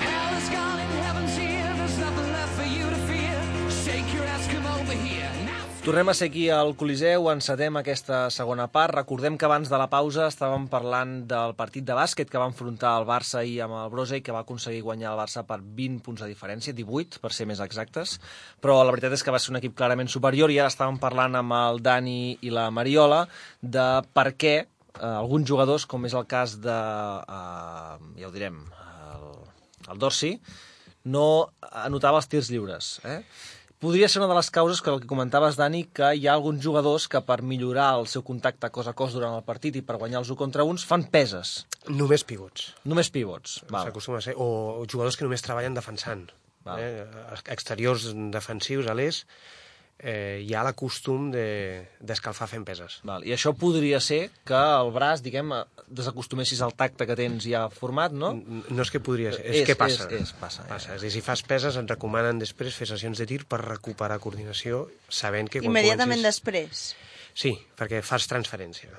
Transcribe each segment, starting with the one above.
Hell is gone and heaven's here. There's nothing left for you to fear. Shake your ass, come over here. Now. Tornem a ser aquí al Coliseu, encetem aquesta segona part. Recordem que abans de la pausa estàvem parlant del partit de bàsquet que va enfrontar el Barça ahir amb el Brosa i que va aconseguir guanyar el Barça per 20 punts de diferència, 18 per ser més exactes, però la veritat és que va ser un equip clarament superior i ara estàvem parlant amb el Dani i la Mariola de per què eh, alguns jugadors, com és el cas de, eh, ja ho direm, el, el Dorsi, no anotava els tirs lliures. Eh? Podria ser una de les causes que el que comentaves, Dani, que hi ha alguns jugadors que per millorar el seu contacte cos a cos durant el partit i per guanyar els 1 contra uns fan peses, Només pivots. només pivots. Val. S'acostuma a ser. O o jugadors que només treballen defensant. Val. Eh? Exteriors defensius, a l'est, eh, hi ha l'acostum de- d'escalfar fent peses. Val. I això podria ser que el braç, diguem, desacostumessis al tacte que tens ja format, no? N- No és que podria ser, és, És- que passa. és- és, passa, ja. passa. És a dir, si fas peses et recomanen després fer sessions de tir per recuperar coordinació sabent que... quan Immediatament comencis- després. Sí, perquè fas transferència.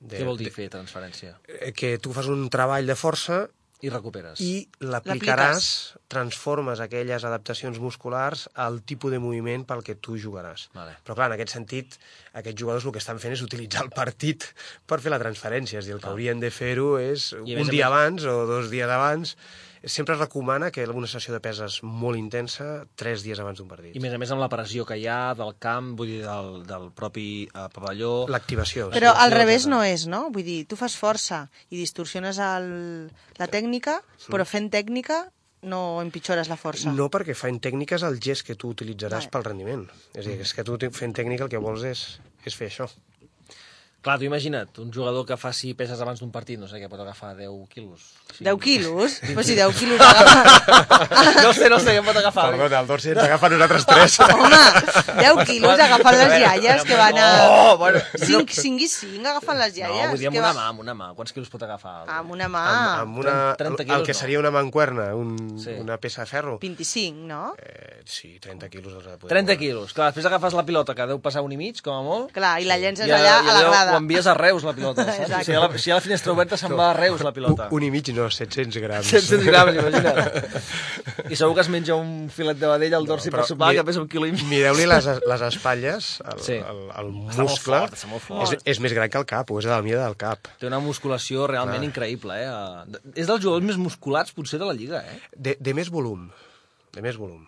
De, Què vol dir fer transferència? de- que tu fas un treball de força I recuperes. Eh, i l'aplicaràs, transformes aquelles adaptacions musculars al tipus de moviment pel que tu jugaràs. Vale. Però clar, en aquest sentit, aquests jugadors el que estan fent és utilitzar el partit per fer la transferència, és a dir, el que haurien de fer-ho és I a un més a dia més- abans o dos dies abans. Sempre es recomana que una sessió de peses molt intensa tres dies abans d'un partit. I a més a més amb la pressió que hi ha del camp, vull dir, del, del propi eh, pavelló... L'activació. Però sí, al sí, revés sí. no és, no? Vull dir, tu fas força i distorsiones el, la tècnica, però fent tècnica no empitjores la força. No, perquè fan tècniques el gest que tu utilitzaràs Vale. pel rendiment. És a dir, és que tu te- fent tècnica el que vols és, és fer això. Clar, tu imagina't, un jugador que faci peses abans d'un partit, no sé què, pot agafar 10 quilos. 10 quilos? Però si 10 quilos agafa... No sé, no sé què pot agafar. Perdona, el Dorsi ens agafa nosaltres tres. Home, 10 quilos agafar les iaies que van a... Oh, bueno. 5, 5 i 5 agafen les No, iaies. vull dir amb que una va- Ah, mà, amb una mà. Quants quilos pot agafar? Amb una mà. amb, amb una, 30 el Ah, quilos que no. seria una mancuerna, un, Sí. sí. una peça de ferro. 25, no? Eh, sí, 30 quilos. els ha de poder 30 moure. quilos. Clar, després agafes la pilota, que deu passar un i mig, com a molt. Clar, i la I llences allà a la deu- grada. Ho envies a Reus, la pilota. Exacte. Saps? Si, hi ha la, si hi ha la finestra oberta, se'n va a Reus, la pilota. Un, un i mig, no, 700 grams. 700 grams, imagina't. I segur que es menja un filet de vedella al dorsi però per sopar, mira- que pesa un quilo i mig. Mireu-li les, les espatlles, el, Sí. sí. el, el Està molt muscle. fort, està molt fort. És, és més gran que el cap, o és de la mida del cap. Té una musculació Ah. realment increïble, eh? Eh, És dels jugadors més musculats, potser, de la Lliga, eh? De, de més volum, de més volum.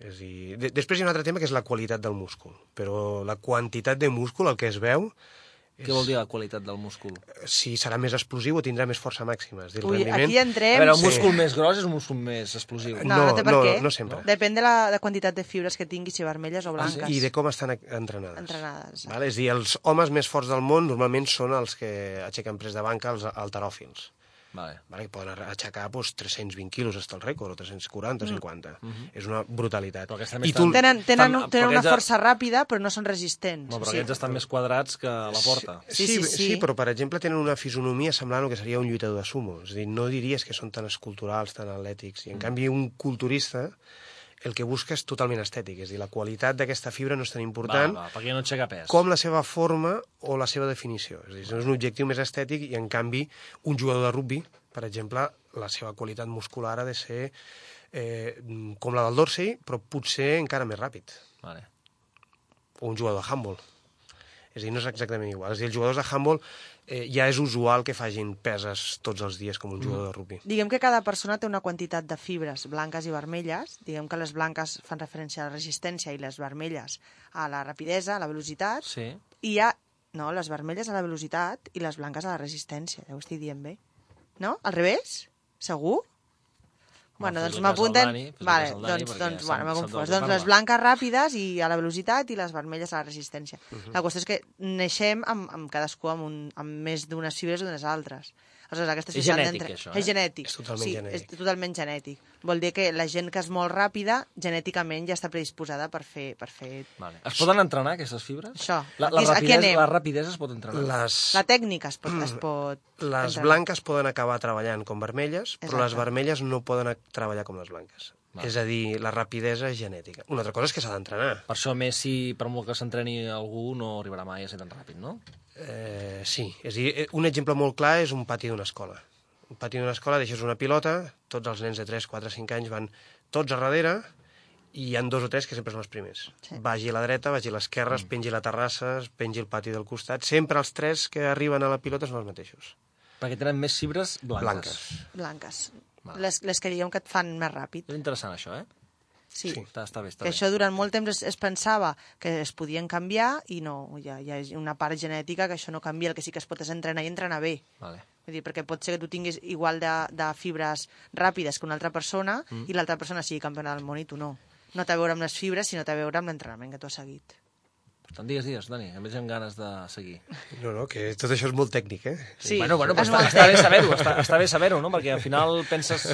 És a dir, de, després hi ha un altre tema que és la qualitat del múscul, però la quantitat de múscul, el que es veu, Què vol dir la qualitat del múscul? si serà més explosiu o tindrà més força màxima. És a dir, el Ui, aquí rendiment- A entrem... veure, un Sí. múscul més gros és un múscul més explosiu. No, No, no, té per no, què. no sempre. Ah, Depèn de la de quantitat de fibres que tinguis, si vermelles o blanques. I de com estan entrenades. Entrenades. Val? És a dir, els homes més forts del món normalment són els que aixequen pres de banca, els alteròfils. Vale. Vale, que poden aixecar doncs, 320 quilos, està el rècord, o 340, o 50. Mm -hmm. És una brutalitat. Mhm. Però aquests també I estan- Tenen, tenen, Estan- tenen una perquè ja- força ràpida, però no són resistents. No, o però sigui, aquests estan més quadrats que la porta. Sí, Sí, sí, sí, sí, sí. però per exemple tenen una fisonomia semblant al que seria un lluitador de sumo. És a dir, no diries que són tan esculturals, tan atlètics. Mm. I en canvi un culturista el que busca és totalment estètic. És a dir, la qualitat d'aquesta fibra no és tan important va, va, perquè no aixeca pes. com la seva forma o la seva definició. És a dir, és un objectiu més estètic i, en canvi, un jugador de rugby, per exemple, la seva qualitat muscular ha de ser eh, com la del Dorsey, però potser encara més ràpid. Vale. O un jugador de handball. És a dir, no és exactament igual. És a dir, els jugadors de handball eh, ja és usual que fagin peses tots els dies com un jugador de rugby. Diguem que cada persona té una quantitat de fibres blanques i vermelles. Diguem que les blanques fan referència a la resistència i les vermelles a la rapidesa, a la velocitat. Sí. I hi ha... No, les vermelles a la velocitat i les blanques a la resistència. Ja ho estic dient bé. No? Al revés? Segur? Bueno, doncs fes-li cas al m'apunten... Dani, fes-li Vale, cas al Dani, doncs, perquè doncs se'n- bueno, m'he se'n confós. dona Doncs les parla. blanques ràpides i a la velocitat i les vermelles a la resistència. Mhm. La qüestió és que neixem amb, amb cadascú amb, un, amb més d'unes fibres o d'unes altres. Aleshores, aquestes És s'han genètic, d'entre- això, eh? És genètic. És totalment sí, genètic. És totalment genètic. Vol dir que la gent que és molt ràpida, genèticament ja està predisposada per fer, per fer Vale. Es poden entrenar, aquestes fibres? Això. La, la, Aquí- aquí rapidesa, anem. la rapidesa es pot entrenar. La... Les, La tècnica es pot... Es pot Mm. les entrenar. blanques poden acabar treballant com vermelles, però les Exacte. vermelles no poden ac- treballar com les blanques. És a dir, la rapidesa és genètica. Una altra cosa és que s'ha d'entrenar. Per això Messi, per molt que s'entreni algú, no arribarà mai a ser tan ràpid, no? Eh, sí, és a dir, eh, un exemple molt clar és un pati d'una escola. Un pati d'una escola, deixes una pilota, tots els nens de 3, 4, 5 anys van tots a darrere i hi han dos o tres que sempre són els primers. Sí. Sí. Vagi a la dreta, vagi a l'esquerra, es pengi la terrassa, es pengi el pati del costat. Sempre els tres que arriben a la pilota són els mateixos. Perquè tenen més fibres blanques. Blanques. Blanques. Vale. Les, les que diguem que et fan més ràpid. És interessant, això, eh? Sí. sí. Està, està bé, està Que bé. això durant molt temps es, es pensava que es podien canviar i no, hi ha, hi ha una part genètica que això no canvia, el que sí que es pot és entrenar i entrenar bé. Vale. Vull dir, perquè pot ser que tu tinguis igual de, de fibres ràpides que una altra persona mm. i l'altra persona sigui campiona del món i tu no. No té a veure amb les fibres, sinó té a veure amb l'entrenament que tu has seguit. Tant digues, digues, Dani, a més amb ganes de seguir. No, no, que tot això és molt tècnic, eh? Sí, Bueno, bueno, però es està, vol està bé fer. saber-ho, està, està bé saber-ho, no? Perquè al final penses,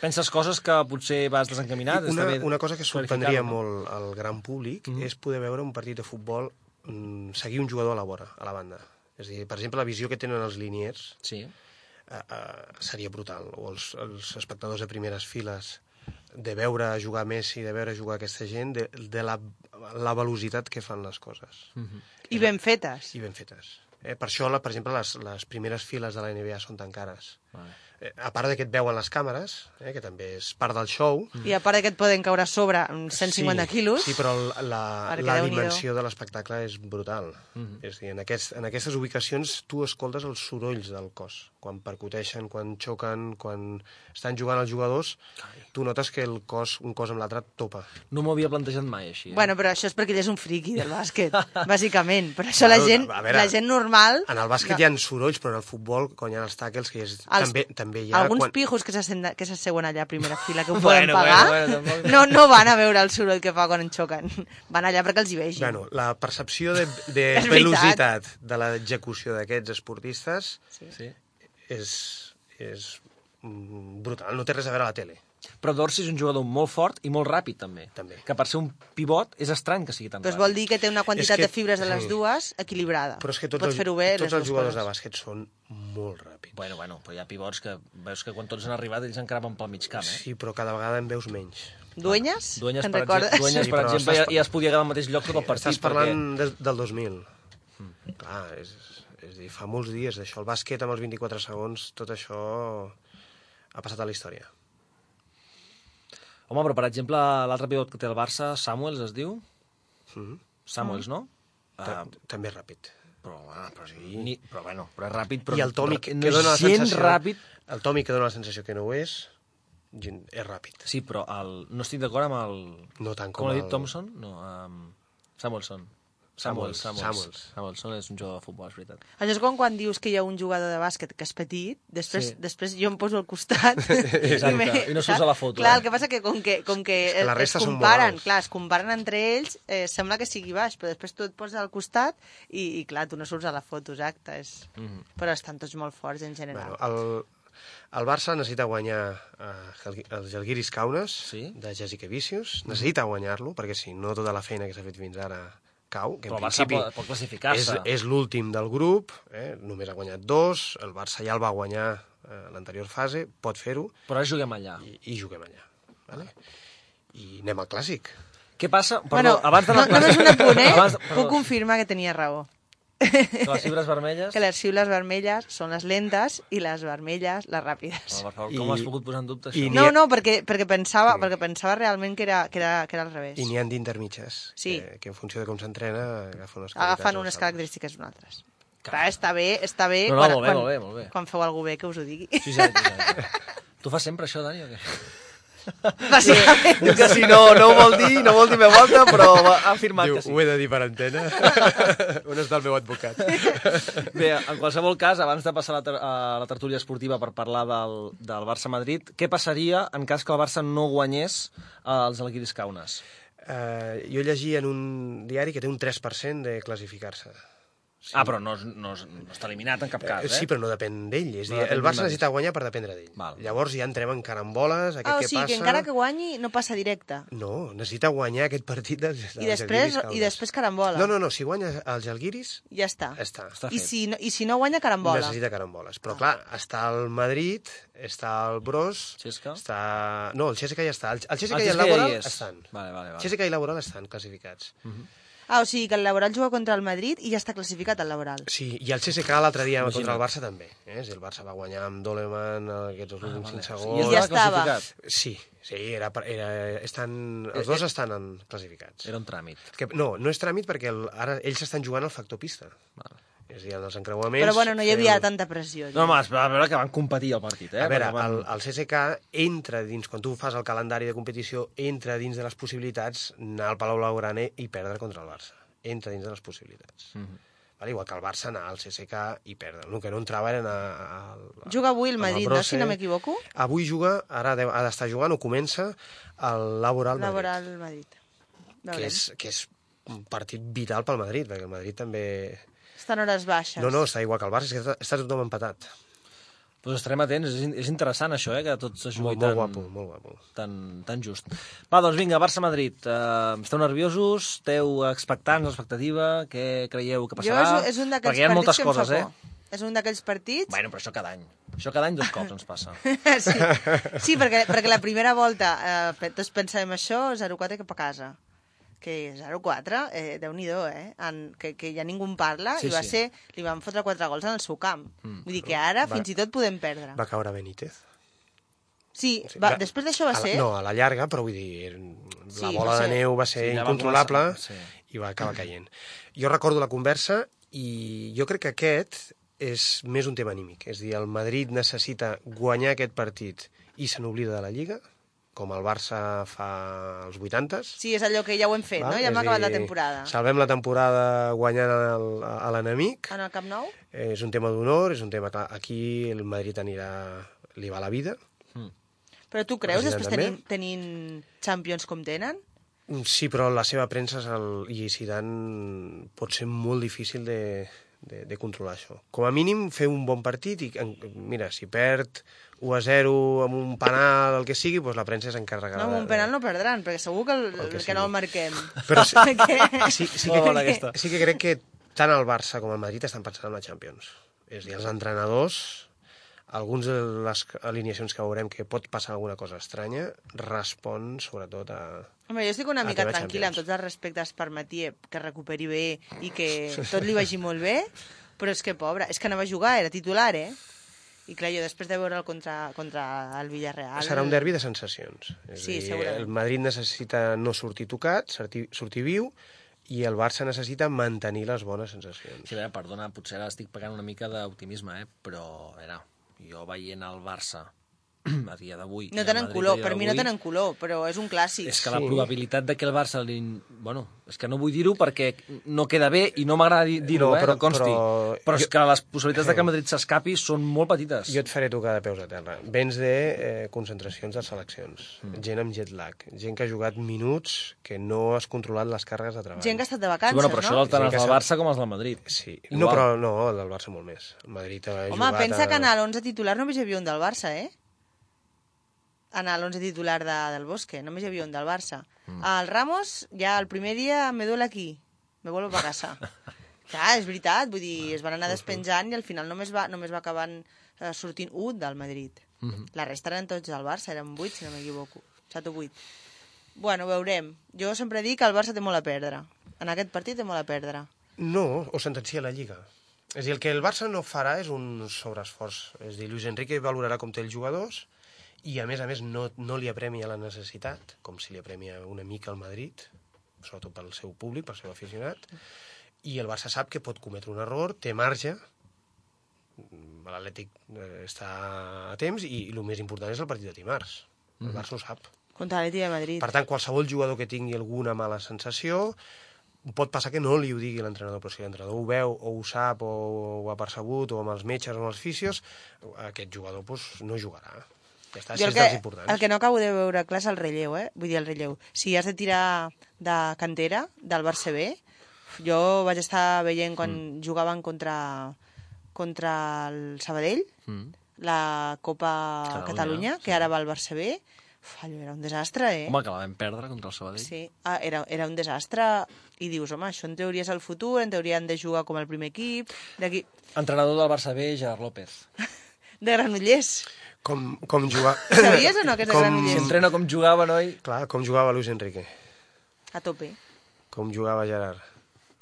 penses coses que potser vas desencaminat. una, està bé Mhm. una cosa que sorprendria clarificar-ho, no? molt al gran públic mm -hmm. és poder veure un partit de futbol mm, seguir un jugador a la vora, a la banda. És a dir, per exemple, la visió que tenen els liniers Sí. eh, eh, seria brutal. O els, els espectadors de primeres files de veure jugar Messi, de veure jugar aquesta gent, de, de la, la velocitat que fan les coses. Mm -hmm. I ben fetes. I ben fetes. Eh, per això, la, per exemple, les, les primeres files de la NBA són tan cares. Vale. Eh, a part de que et veuen les càmeres, eh, que també és part del show, Mm. I a part que et poden caure a sobre amb 150 sí, quilos... Sí, però el- la, Perquè la Déu-n'hi-do. dimensió de l'espectacle és brutal. Mm -hmm. És a dir, en, aquests, en aquestes ubicacions tu escoltes els sorolls del cos. Quan percuteixen, quan xoquen, quan estan jugant els jugadors, tu notes que el cos, un cos amb l'altre topa. No m'ho havia plantejat mai, així. Eh? Bueno, però això és perquè ell és un friqui del bàsquet, bàsicament. Per això la Bueno, gent, a veure, la gent normal... En el bàsquet hi ha sorolls, però en el futbol, quan hi ha els tackles, que és, els- també, també hi ha... alguns quan... pijos que s'asseuen que s'asseuen allà a primera fila que ho poden Bueno, pagar bueno, bueno, tampoc- no, no van a veure el soroll que fa quan en xoquen van allà perquè els hi vegin Bueno, la percepció de, de És veritat. velocitat de l'execució d'aquests esportistes Sí. és, és mm, brutal. No té res a veure a la tele. Però Dorsey és un jugador molt fort i molt ràpid, també. També. Que per ser un pivot és estrany que sigui tan doncs ràpid. vol dir que té una quantitat que- de fibres de les sí. dues equilibrada Però és que tots, pots els, fer-ho bé les tots els dues jugadors de coses. bàsquet són molt ràpids. Bueno, bueno, però hi ha pivots que veus que quan tots han arribat ells encara van pel mig camp, eh? Sí, però cada vegada en veus menys. duenyes? Duenyes, te'n per, recordes? exemple, duenyes, Sí, per però exemple, ja, estàs- ja es podia quedar al mateix lloc tot el partit. Estàs parlant de, del 2000. Mm. Clar, és, és a dir, fa molts dies d'això. El bàsquet amb els 24 segons, tot això ha passat a la història. Perquè... Home, però per exemple, l'altre pivot que té el Barça, Samuels es diu? Mhm. Samuels, no? Ah, Ta- També és ràpid. però, ah, però, sí. ni, però bueno, però és ràpid, però I el Tòmic, no que és dona la gens sensació... ràpid. El Tòmic, que dona la sensació que no ho és, gent- és ràpid. Sí, però el, no estic d'acord amb el... No tant Com com l'ha dit el- Thompson? No, um, Samuelson. Samuels, Samuels, Samuels. Samuels. Samuels. Samuelson és un jugador de futbol, és veritat. Això és com quan dius que hi ha un jugador de bàsquet que és petit, després, Sí. sí. després jo em poso al costat. Exacte, i no surts a la foto, Clar, eh? el que passa que com que, com que, que la es- resta es són molt comparen, alts. clar, es comparen entre ells, eh, sembla que sigui baix, però després tu et poses al costat i, i clar, tu no surts a la foto, exacte. És... Mm Mhm. -hmm. Però estan tots molt forts en general. Bueno, el, el Barça necessita guanyar eh, el Gelguiris Caunes Sí. de Jessica Vicius. Necessita guanyar-lo, perquè si no tota la feina que s'ha fet fins ara cau, que Però el en Barça principi pot- pot classificar-se. és, és l'últim del grup, eh? només ha guanyat dos, el Barça ja el va guanyar eh, l'anterior fase, pot fer-ho Però ara juguem allà. i, i juguem allà. Vale? I anem al clàssic. Què passa? Perdó, Bueno, abans de la no, només un apunt, eh? Abans, Puc perdó, confirmar que tenia raó. que les fibres vermelles... Que les xiules vermelles són les lentes i les vermelles les ràpides. Home, per favor, com I- has pogut posar en dubte i això? n'hi No, ha- no, perquè, perquè, pensava, perquè pensava realment que era, que era, que era al revés. I n'hi ha d'intermitges, Sí. que, que en funció de com s'entrena agafen unes, agafen qualitats unes altres. característiques d'unes altres. Clar, està bé, està bé, No, no, quan, molt bé, quan, molt bé, molt bé. quan feu alguna bé que us ho digui. Sí, sí, sí, sí. Tu fas sempre això, Dani, o què? Bàsicament. Diu que si no, no ho vol dir, no vol dir me volta, però ha afirmat Diu, que sí. ho he de dir per antena. On està el meu advocat? Bé, en qualsevol cas, abans de passar a la, ter a la tertúlia esportiva per parlar del, del Barça-Madrid, què passaria en cas que el Barça no guanyés eh, els Alguiris Caunes? Eh, jo llegia en un diari que té un 3% de classificar-se. O Sí. Ah, però no, és- no, és- no està eliminat en cap cas, eh? Sí, però no depèn d'ell. És No a dir, depèn el d'un Barça necessita guanyar per dependre d'ell. Val. Llavors ja entrem en caramboles, aquest Ah, o què sigui, passa... que encara que guanyi, no passa directe. No, necessita guanyar aquest partit del, del I després, Žalgiris, i Caldes. després carambola. No, no, no, si guanyes el Jalguiris, Ja està. està. Està I fet. si, no, I si no guanya, carambola. Ah. Necessita caramboles. Però, clar, està el Madrid, està el Bros... Xesca? Ah, Està... No, el Xesca ja està. El, el Xesca El Xesca ja i el hi Laboral és. estan. Vale, vale, vale. Xesca i Laboral estan classificats. Ah, o sigui que el Laboral juga contra el Madrid i ja està classificat el Laboral. Sí, i el CSK l'altre dia Imagina't. contra el Barça també. Eh? Si el Barça va guanyar amb Doleman eh, aquests dos últims ah, I segons... estava ja estava. Oh, classificat. Sí, sí, era, per- era, estan, Eh, els dos estan en, classificats. Era un tràmit. Que, no, no és tràmit perquè el, ara ells estan jugant al factor pista. Vale. És a dir, en els encreuaments... eh, Però bueno, no hi havia fer el- tanta pressió. No, home, es va veure que van competir el partit, eh? A veure, Perquè van... el, el CSK entra dins, quan tu fas el calendari de competició, entra dins de les possibilitats anar al Palau Blaugrana i perdre contra el Barça. Entra dins de les possibilitats. Mm Mhm. -hmm. vale? Igual que el Barça anar al CSK i perdre. El que no entrava era anar al... Juga avui el amb Madrid, no? Brose. Si no m'equivoco. Avui juga, ara deu- ha d'estar jugant o comença el Laboral Madrid, Laboral Madrid. que, Veurem. és, que és un partit vital pel Madrid, perquè el Madrid també... Estan hores baixes. No, no, està igual que el Barça, és que està- està tothom empatat. Doncs estarem atents, és, in- és interessant això, eh? Que tot se jugui Molt, molt tan... guapo, molt guapo. tan, tan just. Va, doncs vinga, Barça-Madrid. Uh, esteu nerviosos? Esteu expectants, expectativa? Què creieu que Jo passarà? és, és un d'aquells Perquè hi ha moltes partits que coses, em fa eh? por. És un d'aquells partits... Bueno, però això cada any. Això cada any dos cops ens passa. sí, sí perquè, perquè la primera volta eh, pe- tots pensàvem això, 0-4 cap a casa. Que 0-4, eh, Déu-n'hi-do, eh? En, que, que ja ningú en parla, Sí, sí, i va sí. sí. ser... Li van fotre 4 gols en el seu camp. Mm. Vull dir que ara Va- fins i tot podem perdre. Va caure Benítez. sí, Sí, va, després d'això va a la- ser... No, a la llarga, però vull dir, la Sí, bola va de ser- neu va ser Sí, sí, ja va incontrolable començar, sí. i va acabar caient. Jo recordo la conversa i jo crec que aquest és més un tema anímic. És a dir, el Madrid necessita guanyar aquest partit i se n'oblida de la Lliga, com el Barça fa als 80s. Sí, és allò que ja ho hem fet, val? no? Ja És m'ha acabat a la dir, temporada. Salvem la temporada guanyant el- a l'enemic. En el Camp Nou? Eh, És un tema d'honor, és un tema que aquí el Madrid anirà... li va la vida. Però tu creus, President després tenint, tenint Champions com tenen? Sí, però la seva premsa és el... i Zidane pot ser molt difícil de, de, de controlar això. Com a mínim, fer un bon partit i, en- mira, si perd 1 a 0 amb un penal, el que sigui, doncs la premsa s'encarregarà. No, amb un de- penal no perdran, perquè segur que, el, El que que, sigui. que no el marquem. Però sí, Ah, Perquè- sí, sí, que Molt bona crec, aquesta. sí que crec que tant el Barça com el Madrid estan pensant en la Champions. És a dir, els entrenadors, alguns de les alineacions que veurem que pot passar alguna cosa estranya, respon sobretot a... Home, jo estic una Ah, mica tema tranquil·la amb Champions. tots els respectes per Mathieu, que recuperi bé i que tot li vagi molt bé, però és que pobra, és que anava a jugar, era titular, eh? I clar, jo després de veure'l contra, contra el Villarreal... Serà un derbi de sensacions. És Sí, a dir, segurament. el Madrid necessita no sortir tocat, sortir, sortir viu, i el Barça necessita mantenir les bones sensacions. Sí, a veure, perdona, potser ara estic pagant una mica d'optimisme, eh? Però, a veure, jo veient el Barça a dia d'avui... i No el tenen Madrid a color, dia per mi no d'avui, tenen color, però és un clàssic. És que la probabilitat de que el Barça... Li... Bueno, és que no vull dir-ho perquè no queda bé i no m'agrada dir- dir-ho, No, eh, però- que consti. però- Eh. però és que les possibilitats de que el Madrid s'escapi són molt petites. Jo et faré tocar de peus a terra. Vens de eh, concentracions de seleccions, mm. gent amb jet lag, gent que ha jugat minuts, que no has controlat les càrregues de treball. Gent que ha estat de Sí, vacances, bueno, però això no? del- tant Sí, els que del s'ha- Barça com els del Madrid. Sí. Igual. No, però no, el del Barça molt més. El Madrid ha Home, jugat... pensa a... que en l'11 titular només hi havia un del Barça, eh? En l'11 titular de, del Bosque, només hi havia un del Barça. Mm. El Ramos, ja el primer dia, me duele aquí, me vuelvo a casa. Clar, és veritat, vull dir, es van anar despenjant i al final només va, només va acabar eh, sortint un del Madrid. Mm Mhm. -hmm. La resta eren tots del Barça, eren vuit, si no m'equivoco, set o vuit. Bueno, veurem. Jo sempre dic que el Barça té molt a perdre. En aquest partit té molt a perdre. No, o sentencia la Lliga. És a dir, el que el Barça no farà és un sobreesforç. És a dir, Luis Enrique valorarà com té els jugadors i, a més a més, no, no li apremia la necessitat, com si li apremia una mica al Madrid, sobretot pel seu públic, pel seu aficionat, i el Barça sap que pot cometre un error, té marge, Mm, l'Atlètic eh, està a temps i, el més important és el partit de dimarts. El Barça ho sap. Contra l'Eti de Madrid. Per tant, qualsevol jugador que tingui alguna mala sensació pot passar que no li ho digui l'entrenador, però si l'entrenador ho veu o ho sap o ho ha percebut o amb els metges o amb els fisios, aquest jugador doncs, no jugarà. Ja està, Jo si el és dels que, importants. el que no acabo de veure clar és el relleu, eh? Vull dir, el relleu. Si has de tirar de cantera, del Barça B, uf, jo vaig estar veient quan mm. jugaven contra, contra el Sabadell, Mm. la Copa Catalunya, Catalunya, Catalunya que ara va al Barça B. Uf, allò era un desastre, eh? Home, que la vam perdre contra el Sabadell. Sí, ah, era, era un desastre. I dius, home, això en teoria és el futur, en teoria han de jugar com el primer equip, d'aquí... Entrenador del Barça B, Gerard López. de Granollers. Com, com jugar... Sabies o no que és de Si Granollers? entrena com jugava, noi... Clar, com jugava Luis Enrique, A tope. com jugava Gerard.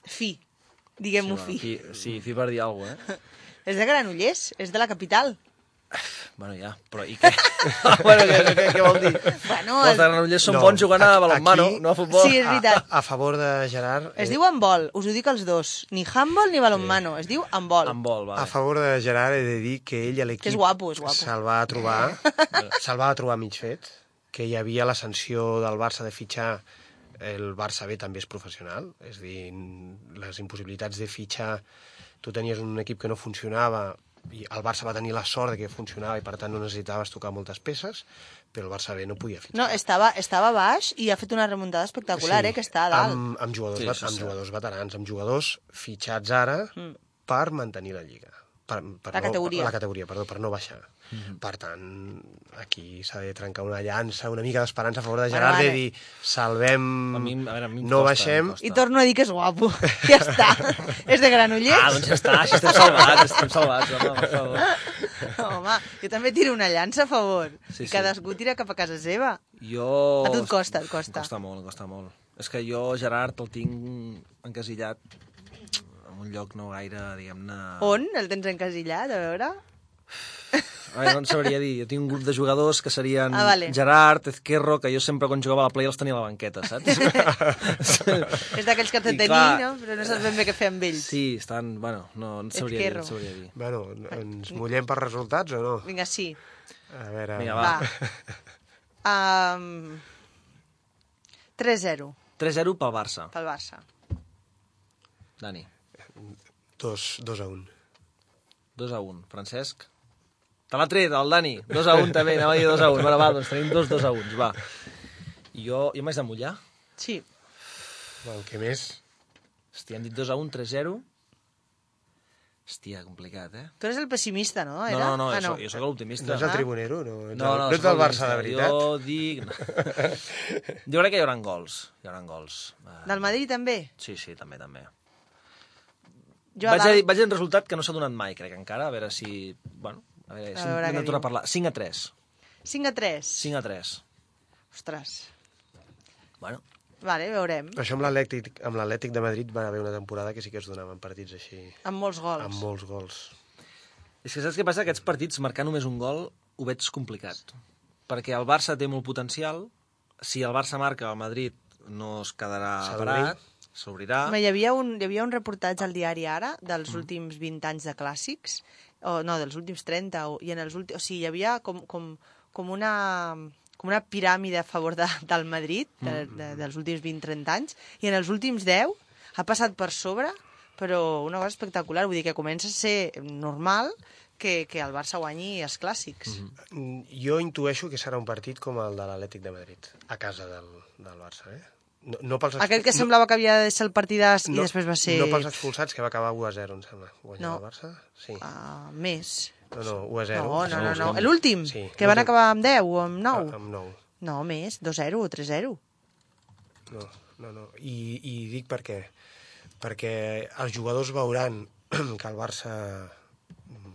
Fi. Diguem-ho bueno, fi. fi, sí, fi per dir alguna cosa, eh? És de Granollers, és de la capital. Bueno, ja, però i què? bueno, què, què, què vol dir? Bueno, Els el- de Granollers són No, bons jugant a aquí- balonmano, aquí- no a futbol. Sí, és veritat. A, a favor de Gerard... Es eh, diu handbol, us ho dic els dos. Ni handbol ni balonmano, es diu handbol. Amb vol, va. A favor de Gerard he de dir que ell a l'equip... Que és guapo, és guapo. Eh. Se'l va trobar, se'l va trobar mig fet, que hi havia la sanció del Barça de fitxar el Barça B també és professional, és a dir, les impossibilitats de fitxar... Tu tenies un equip que no funcionava i el Barça va tenir la sort de que funcionava i per tant no necessitaves tocar moltes peces, però el Barça B no podia fitxar. No, estava, estava baix i ha fet una remuntada espectacular, eh, que està a dalt. Amb, amb, jugadors, Sí, sí, això és amb jugadors veterans, amb jugadors fitxats ara mm. per mantenir la lliga. Per, per La no, categoria. Per, la categoria, perdó, per no baixar. Mm-hmm. Mm. Per tant, aquí s'ha de trencar una llança, una mica d'esperança a favor de Bueno, Gerard, ara- de dir, salvem, A mi- a veure, a mi em no costa, em baixem, costa. I torno a dir que és guapo. Ja està. és de Granollers. Ah, doncs ja està, així estem salvats, estem salvats, home, per favor. Home, jo també tiro una llança a favor. Sí, Sí, sí. sí. Cadascú tira cap a casa seva. Jo... A tu et costa, et costa. Em costa molt, em costa molt. És que jo, Gerard, el tinc encasillat en un lloc no gaire, diguem-ne... On el tens encasillat, a veure? Ai, no en sabria dir. Jo tinc un grup de jugadors que serien Ah, vale. Gerard, Ezquerro, que jo sempre quan jugava a la play els tenia a la banqueta, saps? És d'aquells que t'han I de tenir, clar- no? Però no saps ben bé què fer amb ells. Sí, estan... Bueno, no, no et sabria dir, no Ezquerro. et sabria dir. bueno, ens mullem per resultats o no? Vinga, sí. A veure... Vinga, Va. va. Um, 3-0 3-0 pel Barça, pel Barça. Dani. Dos, dos a un. 2 a 1. Francesc? Te l'ha tret, el Dani. 2 a 1 també, anava a dir 2 a 1. Bueno, va, doncs tenim dos 2 a 1, va. Jo, jo m'haig de mullar. Sí. Bueno, què més? Hòstia, hem dit 2 a 1, 3 a 0. Hòstia, complicat, eh? Tu eres el pessimista, no? No, Era? no, no, ah, jo, sóc- jo sóc l'optimista. No és el tribunero? No, ets, No, no, no ets sóc del Barça, de optimista. veritat? Jo dic... Jo crec que hi haurà gols. Hi haurà gols. Eh, Del Madrid també? Sí, sí, també, també. vaig, Jo a a, dalt... dir- vaig a dir un resultat que no s'ha donat mai, crec, encara. A veure si... Bueno, a veure, si veure què anem a tornar a diu. parlar. 5 a 3. 5 a 3. 5 a 3. Ostres. Bueno, Vale, veurem. Això amb l'Atlètic, amb l'Atlètic de Madrid va haver una temporada que sí que es donaven partits així, Amb molts gols. amb molts gols. És que saps què passa? Aquests partits, marcar només un gol, ho veig complicat. Perquè el Barça té molt potencial. Si el Barça marca, el Madrid no es quedarà S'ha d'obrir. parat, s'obrirà. Home, hi, havia un, hi havia un reportatge al diari ara dels Mm. últims 20 anys de clàssics, o no, dels últims 30, o, i en els últims... O sigui, hi havia com, com, com una com una piràmide a favor de, del Madrid de, Mm. de, dels últims 20-30 anys i en els últims 10 ha passat per sobre però una cosa espectacular vull dir que comença a ser normal que, que el Barça guanyi els clàssics Mm, Jo intueixo que serà un partit com el de l'Atlètic de Madrid, a casa del, del Barça, eh? No, no pels expu- aquell que semblava que havia de ser el partidàs i després va ser No pels expulsats, que va acabar 1 a 0, em sembla. Guanyar No. el Barça? Sí. uh, més No, no, 1 a 0. No, no, no, no. Sí. L'últim, Sí, sí, que van l'últim. acabar amb 10 o amb Ah, 9. amb 9. No, més, 2-0 o 3-0. No, no, no. I, I dic per què. Perquè els jugadors veuran que el Barça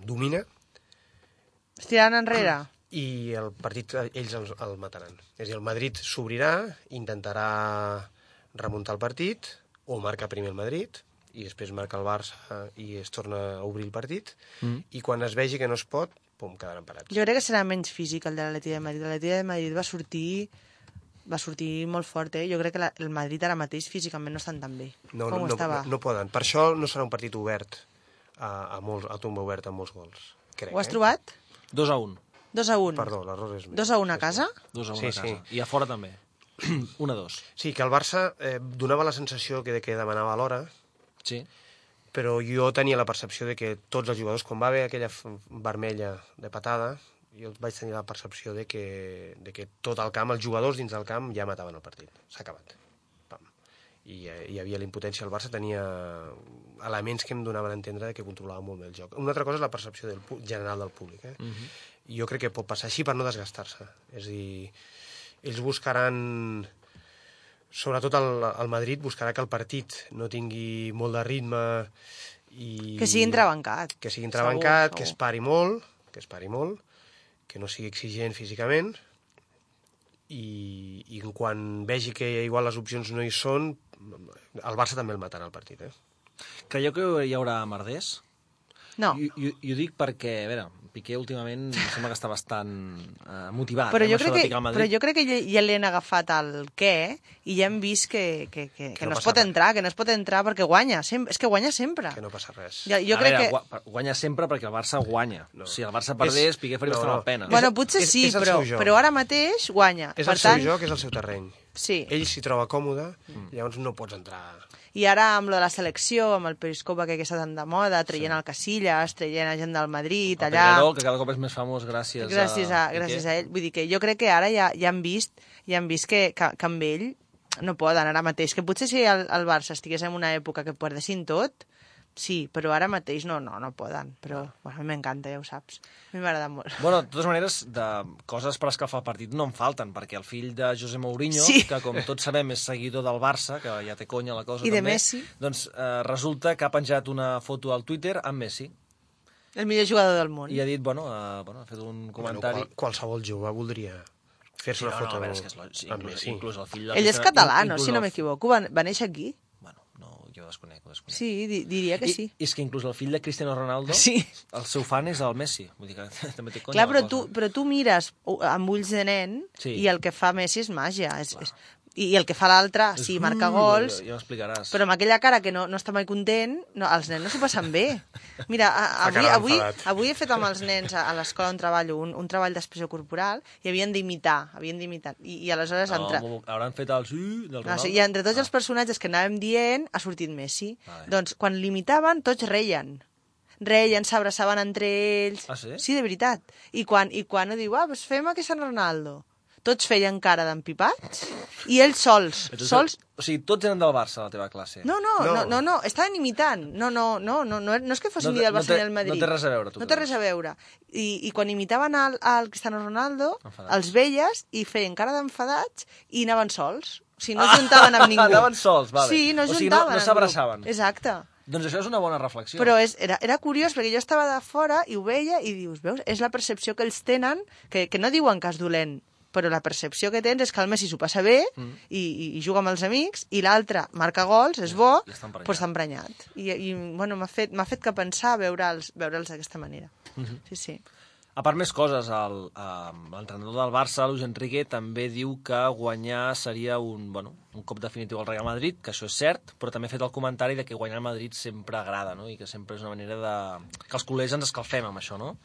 domina, Es tiraran enrere. i el partit eh, ells el, el mataran. És a dir, el Madrid s'obrirà, intentarà remuntar el partit, o marca primer el Madrid, i després marca el Barça i es torna a obrir el partit, mm. i quan es vegi que no es pot, pum, quedaran parats. Jo crec que serà menys físic el de l'Atleti de Madrid. L'Atleti de Madrid va sortir va sortir molt fort, eh? Jo crec que la, el Madrid ara mateix físicament no estan tan bé. No, Com no, no, estava? no, no poden. Per això no serà un partit obert, a, a, molts, a tomba obert amb molts gols. Crec, Ho has eh? trobat? 2 a 1. 2 a 1. Perdó, l'error és meu. 2 a 1 a casa? 2 a 1 a Sí, casa. sí. I a fora també. 1 a 2. Sí, que el Barça eh, donava la sensació que, de que demanava l'hora, Sí. però jo tenia la percepció de que tots els jugadors, quan va haver aquella f- vermella de patada, jo vaig tenir la percepció de que, de que tot el camp, els jugadors dins del camp ja mataven el partit. S'ha acabat. Pam. i eh, hi havia la impotència. El Barça tenia elements que em donaven a entendre que controlava molt bé el joc. Una altra cosa és la percepció del, pu- general del públic. Eh? Uh -huh. Jo crec que pot passar així per no desgastar-se. És a dir, ells buscaran sobretot el, el Madrid buscarà que el partit no tingui molt de ritme i... Que sigui entrebancat. Que sigui Segur, entrebancat, que segur. es pari molt, que es pari molt, que no sigui exigent físicament i, i quan vegi que igual les opcions no hi són, el Barça també el matarà el partit, eh? Creieu que hi haurà merders? No, I, i, I ho dic perquè, a veure, Piqué últimament em sembla que està bastant eh, Ah, motivat. però eh, jo, amb això crec de que, picar al però Madrid. jo crec que ja- ja li han agafat el què i ja hem vist que, que, que, que no no, es passa pot res. entrar, que no es pot entrar perquè guanya. Sempre, és que guanya sempre. Que no passa res. Ja, jo a crec veure, que... gua- guanya sempre perquè el Barça guanya. No. Si el Barça És- perdés, és... Piqué faria no, bastant no. la pena. Bueno, potser és- sí, és el però, seu joc. però ara mateix guanya. És per el tant, seu joc, és el seu terreny. Sí. Mm. Ell s'hi troba còmode, llavors no pots entrar... I ara amb lo de la selecció, amb el periscopa que està tan de moda, traient sí. el Casillas, traient la gent del Madrid, El allà... Pedrerol, que cada cop és més famós gràcies, gràcies a, a Piqué. gràcies a ell. Vull dir que jo crec que ara ja, ja han vist ja han vist que, que, que amb ell no poden ara mateix. Que potser si el, el Barça estigués en una època que perdessin tot, sí, però ara mateix no, no, no poden. Però bueno, a mi m'encanta, ja ho saps. A mi m'agrada molt. Bueno, de totes maneres, de coses per escalfar el partit no en falten, perquè el fill de José Mourinho, Sí. que com tots sabem és seguidor del Barça, que ja té conya la cosa I de també, Messi. doncs eh, resulta que ha penjat una foto al Twitter amb Messi El millor jugador del món. i ha dit, bueno, eh, bueno ha fet un comentari... Bueno, qual, qualsevol jove voldria fer-se una no, no, foto a veure, és que és lo... sí, amb inclús, Messi. inclús el fill de Ell és Cristiano- català, no? inclús Si no el- m'equivoco. Va, va néixer aquí? Bueno, no, jo desconec, ho desconec. Sí, di diria que sí. I, és que inclús el fill de Cristiano Ronaldo, Sí. el seu fan és el Messi. Vull dir que també té conya Clar, la però cosa. tu, però tu mires o- amb ulls de nen Sí. i el que fa Messi és màgia. És, és, I el que fa l'altre, sí, marca Uh, gols, Ja m'explicaràs. Però amb aquella cara que no, no està mai content, no, els nens no s'ho passen bé. Mira, a, La avui, cara avui, d'enfadat. avui he fet amb els nens a, a l'escola on treballo un, un treball d'expressió corporal i havien d'imitar, havien d'imitar. I, I aleshores No, entre... m'ho- hauran fet el sí del Ronaldo. No, sí, I entre Ah. tots els personatges que anàvem dient ha sortit Messi. Vale. Doncs quan l'imitaven tots reien. Reien, s'abraçaven entre ells. Ah, sí? Sí, de veritat. I quan, i quan ho diu, ah, doncs fem aquest Sant Ronaldo. Tots feien cara d'empipats i ells sols, Entonces, sols O sigui, tots eren del Barça, la teva classe. no, no, No. no, no, no, estaven imitant. No, no, no, no, no, no és que fossin No no té- ni del no Barça té- ni del Madrid. no té res a veure, tu, No té doncs. res a veure. I, i quan imitaven al, al Cristiano Ronaldo, Enfadats. els veies i feien cara d'enfadats i anaven sols. O sigui, no es juntaven amb ningú. Anaven sols, vale. Sí, no O es sigui, no- juntaven. no en grup. s'abraçaven. Exacte. Doncs això és una bona reflexió. Però és, era, era curiós perquè jo estava de fora i ho veia i dius, veus, és la percepció que ells tenen, que, que no diuen que és dolent, però la percepció que tens és que el Messi s'ho passa bé mm. i, i, i juga amb els amics i l'altre marca gols, és bo, i està emprenyat. però està emprenyat. I, i bueno, m'ha fet, m'ha fet que pensar veure'ls veure d'aquesta manera. Mm Mhm. -hmm. Sí, sí. A part més coses, el, eh, l'entrenador del Barça, Luis Enrique, també diu que guanyar seria un, bueno, un cop definitiu al Real Madrid, que això és cert, però també ha fet el comentari de que guanyar al Madrid sempre agrada, no? I que sempre és una manera de... que els culers ens escalfem amb això, no?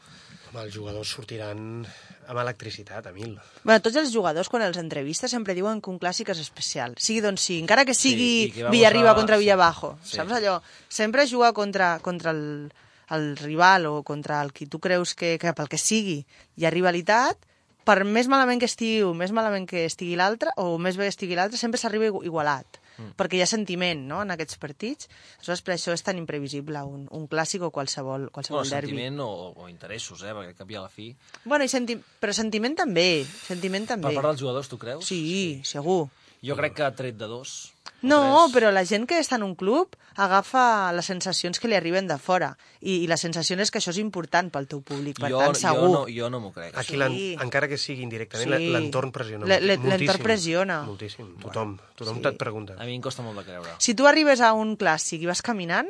Home, els jugadors sortiran amb electricitat, a mil. Bueno, tots els jugadors, quan els entrevistes, sempre diuen que un clàssic és especial. Sigui doncs sí, encara que Sí, sigui i que sí, vamos Villarriba a- contra sí, Villabajo. sí. Sí. Saps allò? Sempre jugar contra, contra el, el rival o contra el qui tu creus que, que pel que sigui hi ha rivalitat, per més malament que estigui un, més malament que estigui l'altre, o més bé que estigui l'altre, sempre s'arriba igu- igualat. Mm. Perquè hi ha sentiment, no?, en aquests partits. Aleshores, per això és tan imprevisible un, un clàssic o qualsevol, qualsevol Bueno, derbi. sentiment o, o interessos, eh? Perquè al cap i a la fi... Bueno, i senti però sentiment també, sentiment també. Per part dels jugadors, tu creus? Sí, segur. Jo crec que ha tret de dos. o No, tres. però la gent que està en un club agafa les sensacions que li arriben de fora. I, i la sensació és que això és important pel teu públic, per jo, tant, segur. Jo no, jo no m'ho crec. Aquí, Sí. sí. encara que sigui indirectament, Sí. sí. l'entorn pressiona. Le- molti- le- l'entorn moltíssim, pressiona. Moltíssim. Tothom, tothom sí. te't pregunta. A mi em costa molt de creure. Si tu arribes a un clàssic i vas caminant,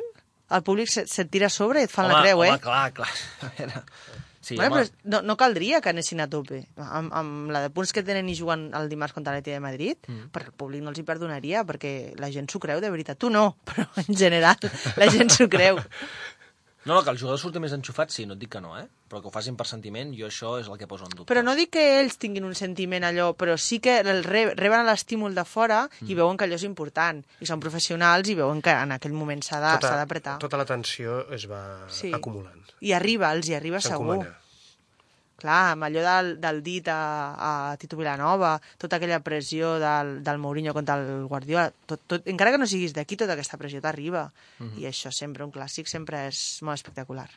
el públic se, se et tira a sobre i et fan la creu, home, eh? clar, clar. A veure... Sí, bueno, home, però no, no caldria que anessin a tope. Amb, amb la de punts que tenen i juguen el dimarts contra l'Atlètic de Madrid, mm. però el públic no els hi perdonaria, perquè la gent s'ho creu, de veritat. Tu no, però en general la gent s'ho creu. No, no, que el jugador surti més enxufat, sí, no et dic que no, eh? Però que ho facin per sentiment, jo això és el que poso en dubte. Però no dic que ells tinguin un sentiment allò, però sí que el re reben l'estímul de fora mm. i veuen que allò és important. I són professionals i veuen que en aquell moment s'ha de- s'ha d'apretar. tota la tota tensió es va Sí. sí. acumulant. I arriba, els hi arriba segur. S'encomana. Clar, amb allò del, del dit a, a Tito Vilanova, tota aquella pressió del, del Mourinho contra el Guardiola, tot, tot, encara que no siguis d'aquí, tota aquesta pressió t'arriba. I això sempre, un clàssic, sempre és molt espectacular.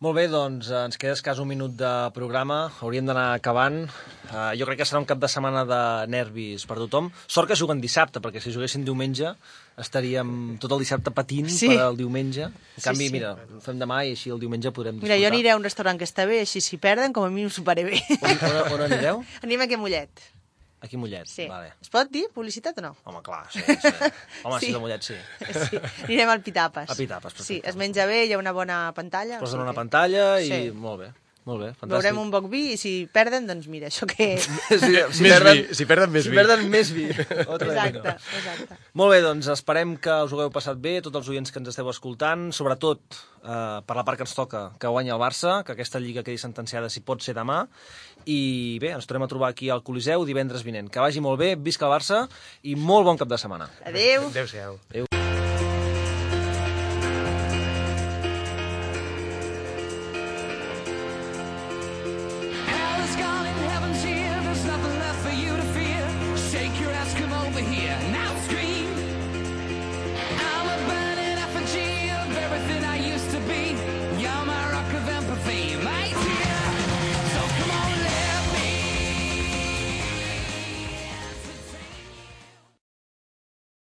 Molt bé, doncs eh, ens queda escàs un minut de programa, hauríem d'anar acabant. Uh, jo crec que serà un cap de setmana de nervis per tothom. Sort que juguen dissabte, perquè si juguessin diumenge estaríem tot el dissabte patint Sí. per al diumenge. En Sí, canvi, sí. mira, ho fem demà i així el diumenge podrem disfrutar. Mira, jo aniré a un restaurant que està bé, així si perden, com a mínim soparé bé. On, on, on anireu? Anem aquí a Mollet. Aquí a Mollet. Sí. Vale. Es pot dir publicitat o no? Home, clar, sí, sí. Home, sí. si és de Mollet, sí. sí. Anirem al Pitapes. A Pitapes, perfecte. Sí, es menja bé, hi ha una bona pantalla. Posen o sigui una que pantalla i... Sí. Molt bé, molt bé, fantàstic. Veurem un boc vi i si perden, doncs mira, això que... Sí, si, Més vi, si perden, més si vi. perden, més vi. Otra Exacte, vez. exacte. Molt bé, doncs esperem que us ho hagueu passat bé, tots els oients que ens esteu escoltant, sobretot eh, per la part que ens toca, que guanya el Barça, que aquesta lliga quedi sentenciada si pot ser demà, i bé, ens tornem a trobar aquí al Coliseu divendres vinent. Que vagi molt bé, visca el Barça i molt bon cap de setmana. Adéu. Adéu-siau.